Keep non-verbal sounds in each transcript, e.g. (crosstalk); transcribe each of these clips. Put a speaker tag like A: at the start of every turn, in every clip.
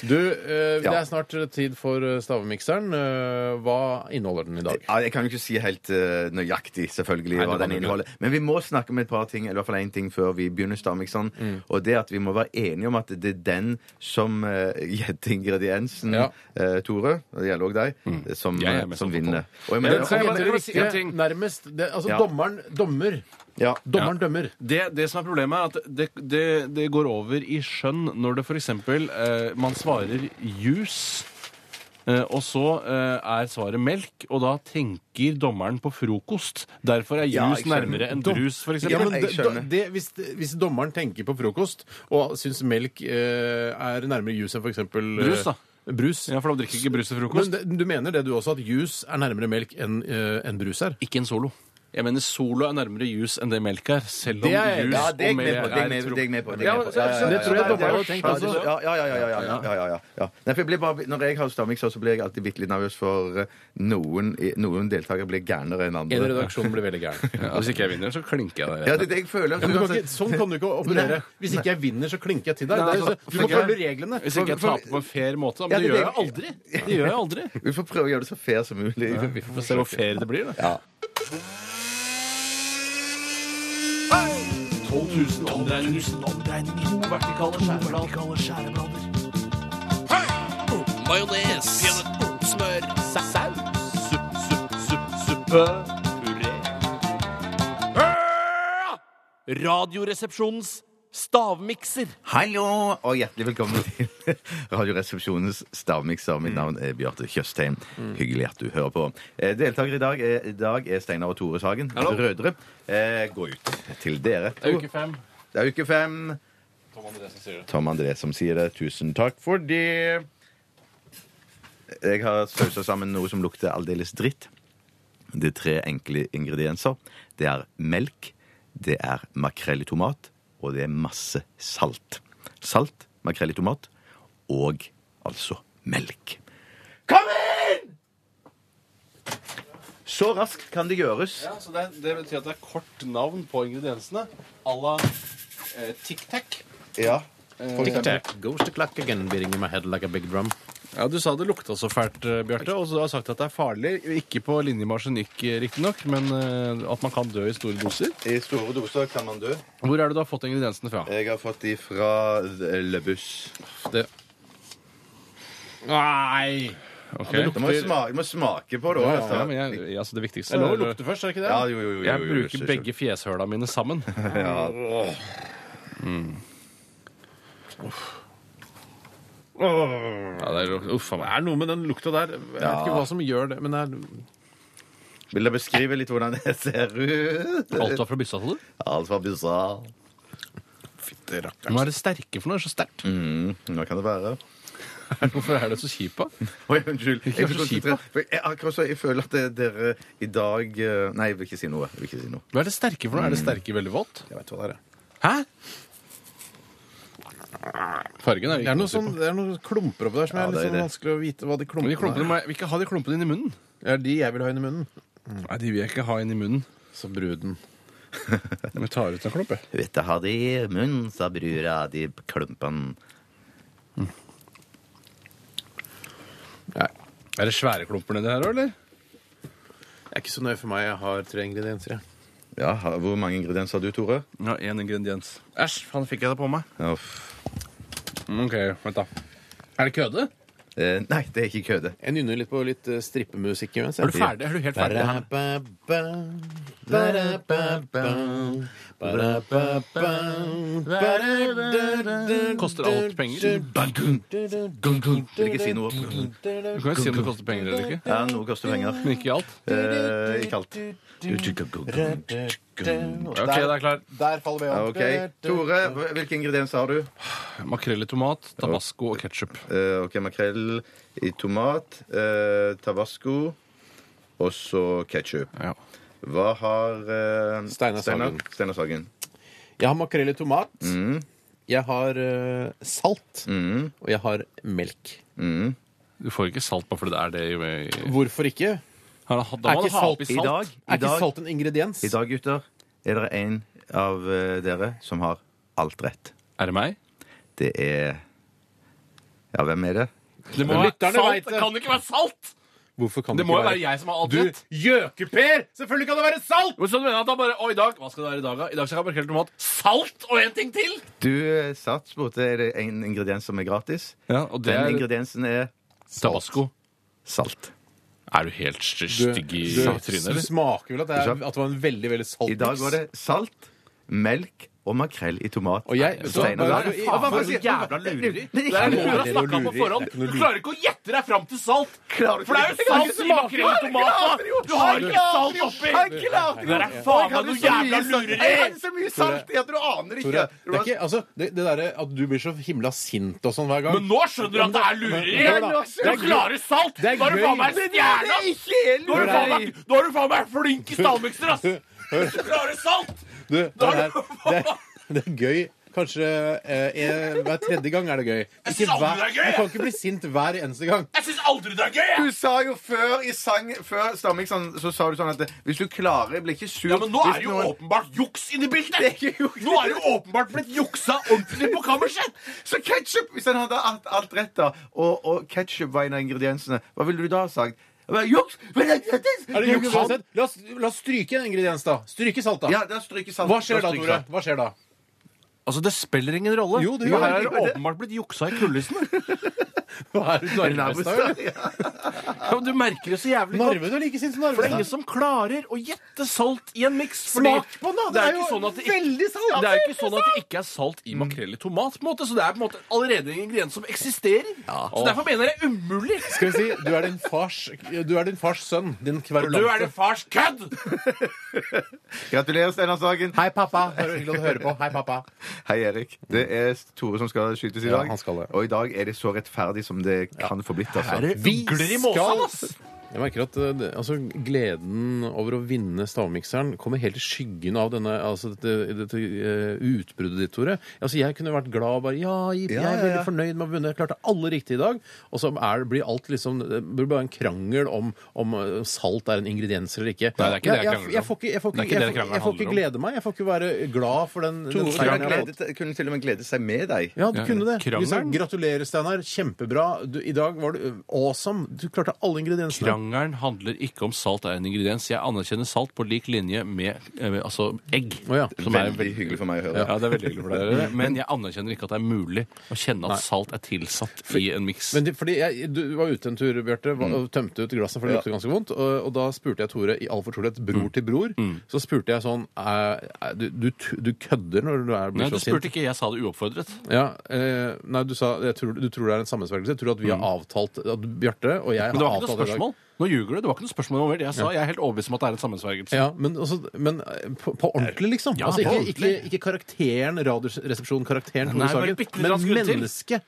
A: Du, eh, det
B: Ja.
A: er snart tid for eh, stavemikseren. Eh, Hva inneholder den i dag?
B: Ja, jeg kan jo ikke si helt eh, nøyaktig
A: Nei,
B: selvfølgelig
A: det
B: hva
A: kan
B: den
A: du ikke.
B: inneholder. Men vi må snakke om et par ting, eller i hvert fall én ting, før vi begynner Stamikson.
A: Mm.
B: Og det at vi må være enige om at det er den som eh, gjetter ingrediensen,
A: Ja. Mm.
B: eh, Tore, og det gjelder òg deg, som,
C: Jeg er
B: eh,
C: med
B: som
C: som
B: vinner. Og
A: Men
B: jeg mener-
A: den
C: kan
A: som
C: jeg bare-
A: gjetter
C: kan jeg bare si en
A: riktig
C: ting?
A: nærmest det, Altså
B: Ja.
A: dommeren dommer.
B: ja.
A: Dommeren dømmer.
C: Det, det som er problemet, er at det, det, det går over i skjønn når det f.eks. Eh, man svarer jus, eh, og så eh, er svaret melk, og da tenker dommeren på frokost. Derfor er jus
B: Ja, jeg skjønner.
C: nærmere enn
A: Dom-
C: brus, f.eks.
A: Ja,
C: Ja,
A: men
B: jeg
A: det,
B: skjønner.
A: det, hvis, hvis dommeren tenker på frokost og syns melk eh, er nærmere jus enn f.eks.
C: Brus, da.
A: Brus.
C: for da drikker ikke brus til
A: Men
C: frokost.
A: det, du mener det du også, at jus er nærmere melk enn eh, enn brus er?
C: ikke en solo. Jeg mener solo er nærmere jus enn det melk er, selv om
A: Det er-
C: jus
B: Ja, det er jeg
C: og
B: med
C: melk
B: på. Det er jeg med på. Det er jeg med på, det er jeg
C: Ja,
B: med på.
C: så- så-
A: det tror jeg
B: ja,
A: dommerne
B: ja,
A: har tenkt
B: ja,
A: også.
B: Ja, ja, ja, ja, ja, ja, ja, ja, ja, ja. Nei, for jeg blir bare, når jeg har stavmikser, så blir jeg alltid bitte litt nervøs for eh, noen, noen deltakere blir gærnere enn
A: En i
B: andre.
A: redaksjonen blir veldig gæren.
C: (laughs) Ja, hvis ikke jeg vinner, så klinker jeg deg.
B: Ja, det er det jeg føler.
A: Ja, men du kan ikke, sånn kan du ikke operere. Hvis ikke jeg vinner, så klinker jeg til deg.
C: Nei,
A: Det er-
C: altså,
A: du må
C: tenker
A: følge
C: jeg-
A: reglene.
C: Hvis ikke jeg
A: For-
C: taper på en fair
B: Ja,
C: måte, da. Men det
B: det
C: gjør
B: er
C: jeg aldri. Det gjør jeg aldri.
B: Vi får prøve å gjøre det så fair som mulig. Vi
C: (laughs) Vi får se hvor fair det blir, da.
B: Ja.
C: 12 000 omdreininger. To vertikale skjæreblader. Majones. Smør. Saus. Supp, supp, supp, suppe. Puré. Radioresepsjonens stavmikser.
B: Hallo, og hjertelig velkommen til (laughs) Radioresepsjonens stavmikser. Mitt navn er Bjarte Tjøstheim. Hyggelig at du hører på. Eh, Deltakere i dag er, i dag er Steinar og Tore Sagen.
C: Hallo.
B: Brødre. Eh, gå ut til dere.
C: fem.
B: Det er uke fem. Tom André som sier det. Tusen takk for det. Jeg har sausa sammen noe som lukter aldeles dritt. Det er tre enkle ingredienser. Det er melk, det er makrell i tomat, og det er masse salt. Salt, makrell i tomat og altså melk. Kom inn! Så raskt kan det gjøres.
C: Ja, så det, det betyr at det er kort navn på ingrediensene. À la eh, Tic Tac.
B: Ja. For eksempel.
A: Goes the clock again, beating in my head like a big drum.
C: Ja, Du sa det lukta så fælt, eh, Bjarte. Og så har du sagt at det er farlig. Ikke på linje med arsenikk, eh, riktignok, men eh, at man kan dø i store doser.
B: I store doser kan man dø.
C: Hvor er det du har fått ingrediensene fra?
A: Eh,
B: Jeg har fått de fra Le Bus.
A: Det. Nei!
C: Ok.
B: Du må, smake, du må smake på det òg.
C: Ja, men jeg, jeg- altså det
A: Det
C: viktigste
A: er lov å
C: er-
A: lukte først, er det ikke det?
B: Ja, jo, jo, jo, jo,
C: Jeg
B: jo,
C: bruker
B: jo, jo.
C: begge fjeshøla mine
A: (laughs)
C: sammen.
B: Ja.
C: Ja, det er, uff, faen
A: Det
C: meg.
A: er noe med den lukta der. Jeg vet ikke hva som gjør det, men det er
B: Vil dere beskrive litt hvordan det ser
A: Eh,
B: ut?
C: Alt var fra byssa, sa du?
B: Alt fra bussa.
A: Fytti rakkeren.
C: Nå er det sterke for noe. Det er så
A: (laughs)
C: sterkt.
B: Hva Mm, kan det være?
C: Hvorfor er det så kjipt? da?
B: Oi, unnskyld. Jeg,
C: vær
B: er
C: så
B: så
C: kjip,
B: konsentrert. For jeg, akkurat så, jeg føler at det- dere i dag eh, Nei, jeg vil ikke si noe. Jeg vil ikke si noe.
C: Hva er det sterke for noe? Er det sterke veldig vått?
A: Jeg vet hva det er.
C: Hæ? Fargen er jo
A: Det
C: ikke
A: er noen
C: å si på.
A: sånn, det er noen klumper oppi der som
B: Ja,
A: er
B: det
A: litt
B: er
A: sånn
B: det.
A: vanskelig å vite hva de
C: Men de klumpene
A: klumpene er.
C: må jeg vil ikke ha de klumpene inn i munnen.
A: Det er de jeg vil ha inn i munnen.
C: Nei, de vil jeg ikke ha inn i munnen.
A: Så bruden.
C: Vi tar ut en klump, jeg.
B: Vet du hva det er i munnen, sa brura, de klumpene.
A: Nei.
C: Er det svære klumper nedi her òg, eller?
A: Det er ikke så nøye for meg. Jeg har tre ingredienser, jeg.
B: Ja, ha- hvor mange ingredienser har du, Tore?
C: Ja, én ingrediens. Æsj, faen fikk jeg det på meg.
B: Uff.
C: Mm, OK, vent, da. Er det køde?
B: Eh, Nei, det er ikke køde.
A: Jeg nynner litt på litt eh, strippemusikk imens. jeg.
C: Er du ferdig? Er du helt ferdig? Koster alt penger?
B: Vil ikke si noe.
C: Du kan jo si om det koster penger eller ikke.
B: Ja, noe koster penger.
C: Men ikke i alt.
B: Eh, ikke alt.
C: Ok, det er klart.
A: Der faller vi
B: Ja,
A: av.
B: OK. Tore, hva- hvilke ingredienser har du?
C: Makrell i tomat, tabasco og ketsjup.
B: Eh, OK, makrell i tomat, eh, tabasco og så ketsjup.
C: Ja.
B: Hva har eh,
A: Steinar Sagen.
B: Steinar Sagen.
A: Jeg har makrell i tomat.
B: Mm.
A: Jeg har eh, salt. Og jeg har melk.
B: mm.
C: Du får ikke salt bare fordi det er det i
A: Hvorfor ikke?
C: Da må
A: ikke
C: du ha
A: salt
C: oppi
B: I
C: salt.
B: dag, i
A: Er ikke
B: dag,
A: salt en ingrediens?
B: i dag gutter, er det en av eh, dere som har alt rett.
C: Er det meg?
B: Det er Ja, hvem er det?
C: Det må være
A: Lytterne
C: salt!
A: vet det.
C: Det kan jo ikke være salt!
A: Hvorfor kan
C: Det må jo være jeg som har alt rett.
A: Gjøkeper! Selvfølgelig kan det være salt!
C: Men Så du mener at han bare Å, i dag Hva skal det være i dag, da? I dag skal jeg ha markert tomat. Salt og en ting til!
B: Du eh, satt, spurte er det en ingrediens som er gratis.
C: Ja, og det
B: Den
C: er
B: ingrediensen er
C: tabasco.
B: salt.
C: Er du helt st- stygg i
A: Du,
C: trynet,
A: du
C: eller?
A: smaker vel at det, er,
B: Ikke
A: at
B: sant?
A: det var en veldig veldig salt
B: I dag var det salt, melk og makrell i tomat.
A: Og jeg- så-
B: Stein og
A: bare-
B: dag.
A: i-
B: Hva- hva- hva-
C: for jævla
B: Det
C: lureri.
B: er
C: Det
B: ikke
C: er noe du
A: lureri.
C: har snakka om på forhånd.
A: Det er ikke noe
C: Du
A: lureri.
C: klarer ikke å gjette deg fram til salt!
B: Klarer ikke.
C: For det er
B: Jeg
C: jo
B: kan
C: salt
B: ikke
C: i
B: smake.
C: makrell og tomat! da. Du har ikke salt oppi!
B: Han klarte
C: Det er faen meg noe jævla
B: Jeg
C: lureri!
B: hadde så mye salt i at du aner ikke!
A: Tore, det er
B: var-
A: ikke, altså, det, det derre at du blir så himla sint og sånn hver gang
C: Men nå skjønner du at det er lureri!
A: Men- men-
C: Du klarer salt!
A: Det er
C: Nå er du
A: gøy.
C: faen meg stjerna!
B: ikke helt
C: Nå er du
B: lureri!
C: faen meg, nå er du faen meg flink i stavmikser, (laughs) ass! Du klarer salt!
A: Du, det, er, det, er- det er gøy. Kanskje eh, en- hver tredje gang er det gøy. Ikke
C: savner
A: hver,
C: deg gøy,
A: du
C: jeg.
A: kan ikke bli sint hver eneste gang.
C: Jeg syns aldri det er gøy! jeg.
B: Du sa jo før i sang Før Stamik sånn, så sa du sånn at det- hvis du klarer, blir ikke sur
C: Ja, men nå
B: hvis
C: er det jo
B: noen-
C: åpenbart juks inni
B: Det er
C: bildet!
B: ikke juks.
C: Nå er det jo åpenbart blitt juksa ordentlig på kammerset!
B: Så ketchup, Hvis han hadde alt, alt rett, da, og, og ketsjup var en av ingrediensene, hva ville du da ha sagt? Jeg bare, Juks! Men det er gratis!
A: Er det
B: er
A: juks
B: gratis.
A: uansett? La oss, la oss stryke en ingrediens, da. Stryke salt, da.
B: Ja, da stryker salt.
A: Hva skjer da,
B: stryker
A: Tore?
B: salt.
A: Hva
C: (laughs)
A: skjer da?
C: Altså, Det spiller ingen rolle.
A: Jo, det
C: For
A: gjør
C: her er
A: det.
C: det åpenbart blitt juksa i kulissene.
A: Hva er det
B: Er det
A: Narvestad?
B: nabostad? (laughs) Ja.
C: Ja, men du merker det så jævlig godt.
A: (laughs) Narve, du er like sint som
C: For det er ingen
A: Narvestad.
C: som klarer å gjette salt i en miks.
A: Smak på den, da!
C: Det er jo ikke sånn at det ikke,
A: veldig salt.
C: det er jo ikke sånn at det ikke er salt i makrell i tomat. på en måte, Så det er på en måte allerede en ingrediens som eksisterer. Så derfor mener jeg umulig.
A: Skal vi si, du er din fars, du er din fars sønn. Din
C: Du
A: kverulante.
C: er din fars kødd!
B: Gratulerer, Steinar Sagen.
A: Hei, pappa. Det er hyggelig å høre på. Hei, pappa.
B: Hei, Erik. Det er Tore som skal skytes i
A: Ja,
B: dag.
A: han skal det.
B: Og i dag er det så rettferdig som det kan få blitt. Altså.
A: Vi
C: ugler i måsen, ass!
A: Jeg merker at eh, det, altså, gleden over å vinne stavmikseren kommer helt i skyggen av denne, altså, dette, dette eh, utbruddet ditt, Tore. Altså, jeg kunne vært glad og bare ja, jipp, jeg er
B: Ja, ja, ja.
A: veldig fornøyd med å ha vunnet. Jeg klarte alle riktig i dag. Og så er, blir alt liksom Det blir bare en krangel om, om eh, salt er en ingrediens eller ikke.
C: Nei, det er ikke det jeg
A: jeg, jeg,
C: krangler om.
A: jeg får ikke, jeg får
C: Det
A: ikke,
C: er ikke det
A: jeg får,
C: krangelen
A: jeg får ikke
C: handler
A: glede meg. Jeg får ikke være glad for den, den
B: Tore
A: seieren jeg har hatt.
B: gledet- kunne til og med glede seg med deg.
A: Ja, du
C: Ja,
A: kunne det. Vi
C: krangelen.
A: sa gratulerer, Steinar. Kjempebra. Du, I dag var du awesome. Du klarte alle ingrediensene.
C: Krangelen handler ikke om salt er en ingrediens. Jeg anerkjenner salt på lik linje med eh, altså, egg.
A: Å, ja.
C: som er
B: Veldig hyggelig for meg å høre.
C: Ja, det er veldig hyggelig for dere. (laughs) Men jeg anerkjenner ikke at det er mulig å kjenne at salt er tilsatt i en miks.
A: Men det, fordi jeg, Du var ute en tur, Bjarte, var-
C: Mm.
A: og tømte ut glasset, for det
B: Ja.
A: lukter ganske vondt. Og, og da spurte jeg Tore i all fortrolighet, bror
C: Mm.
A: til bror, så spurte jeg sånn eh, eh, du, du, t- du kødder når du er, blir
C: Nei, du
A: så sint?
C: spurte ikke. Jeg sa det uoppfordret.
A: Ja, eh, nei, du sa jeg tror, du tror det er en sammensvergelse. Jeg tror at vi har avtalt at Bjarte og jeg har
C: Mm. Men det var ikke noe
A: avtalt i dag.
C: spørsmål. Nå ljuger du. Det var ikke noe spørsmål over det jeg sa. Jeg er helt overbevist om at det er en sammensvergelse.
A: Ja, men, altså, men eh, på, på ordentlig, liksom.
C: Ja,
A: altså,
C: på
A: ikke,
C: ordentlig.
A: ikke, ikke karakteren, Radioresepsjon-karakteren Tore
C: Nei, bare
A: Sagen,
C: bitte litt
A: men
C: raskere til.
A: mennesket.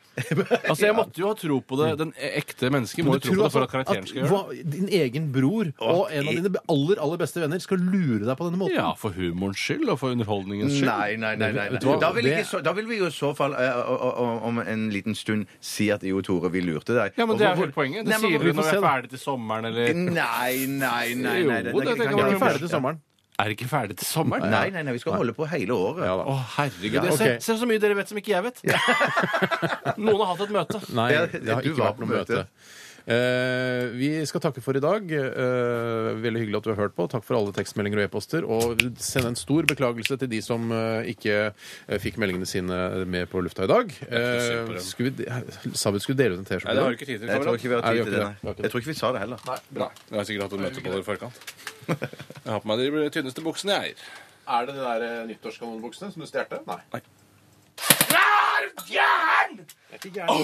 C: Altså,
A: (laughs)
C: Jeg måtte jo ha tro på det. Den e- ekte mennesket må
A: Mm. Men
C: jo tro på det for at
A: altså
C: karakteren skal gjøre det.
A: hva- din egen bror og en av dine aller, aller beste venner skal lure deg på denne måten?
C: Ja, for humorens skyld og for underholdningens skyld.
B: Nei, nei, nei. nei,
A: Vet du hva?
B: nei. Da, vil
A: Det-
B: ikke, så, da vil vi jo i så fall eh, o- o- o- om en liten stund si at jo, Tore, vi lurte deg.
C: Ja, men
B: Og
C: Det er jo
B: hvor-
C: hele poenget. Det
B: Nei, men
C: sier
B: hvor-
C: vi
A: vi får
C: når vi
A: se,
C: er
A: da.
C: ferdig til sommeren, eller
B: Nei, nei, nei. nei,
C: Jo,
B: kan
C: det kan vi
A: Vi
B: vi
A: er
C: gjøre.
A: ferdig til sommeren.
C: Er det ikke ferdig til sommeren?
B: Nei, nei, nei, vi skal holde på hele året.
A: Ja da.
C: Å, herregud.
B: Ja,
C: Jeg ser-
A: ok.
C: Se så mye dere vet som ikke jeg vet. (laughs) Noen har hatt et møte.
A: Nei,
B: Ja,
A: det har
B: du
A: ikke
B: var
A: vært
B: på
A: noe møte.
B: møte.
A: Eh, vi skal takke for i dag. Eh, veldig hyggelig at du har hørt på. Takk for alle tekstmeldinger og e-poster. Og send en stor beklagelse til de som eh, ikke eh, fikk meldingene sine med på lufta i dag.
C: synd på
A: Eh,
C: dem.
A: skulle vi, sa vi skulle dele ut en T-skjorte? i dag?
C: ikke tid
B: Jeg tror ikke vi har
A: Nei, vi har
B: tid til
A: ikke det.
B: det.
A: Vi
B: nei.
A: har ikke det.
B: Jeg tror ikke vi sa det heller.
C: Bra. Jeg har sikkert hatt et møte på dere i forkant. (laughs) Jeg har på meg de tynneste buksene jeg eier.
A: Er det de der eh, nyttårskanonbuksene som du stjal? Nei.
C: Er du gæren?!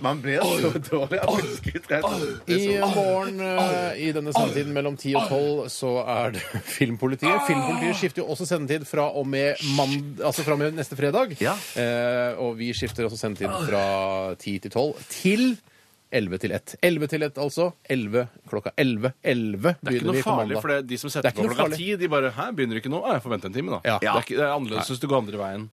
B: Man blir så dårlig av menneskerettigheter.
A: I morgen eh, i denne sendetiden mellom 10 og 12 så er det (laughs) Filmpolitiet. Filmpolitiet skifter jo også sendetid fra og med, mand altså fra og med neste fredag.
B: Ja.
A: Eh, og vi skifter også sendetid fra 10 til 12 til 11 til 1. 11 til 1, altså. 11 klokka 11. 11
C: Det er ikke
A: begynner vi
C: noe
A: på
C: farlig,
A: mandag.
C: for det er de som
A: Det
C: setter
A: er
C: på
A: ikke noe
C: klokka
A: farlig.
C: ti, de bare Hæ, begynner ikke nå? Ja, jeg får vente en time, da.
A: Ja.
C: Det, er ikke, det er annerledes hvis du går andre veien.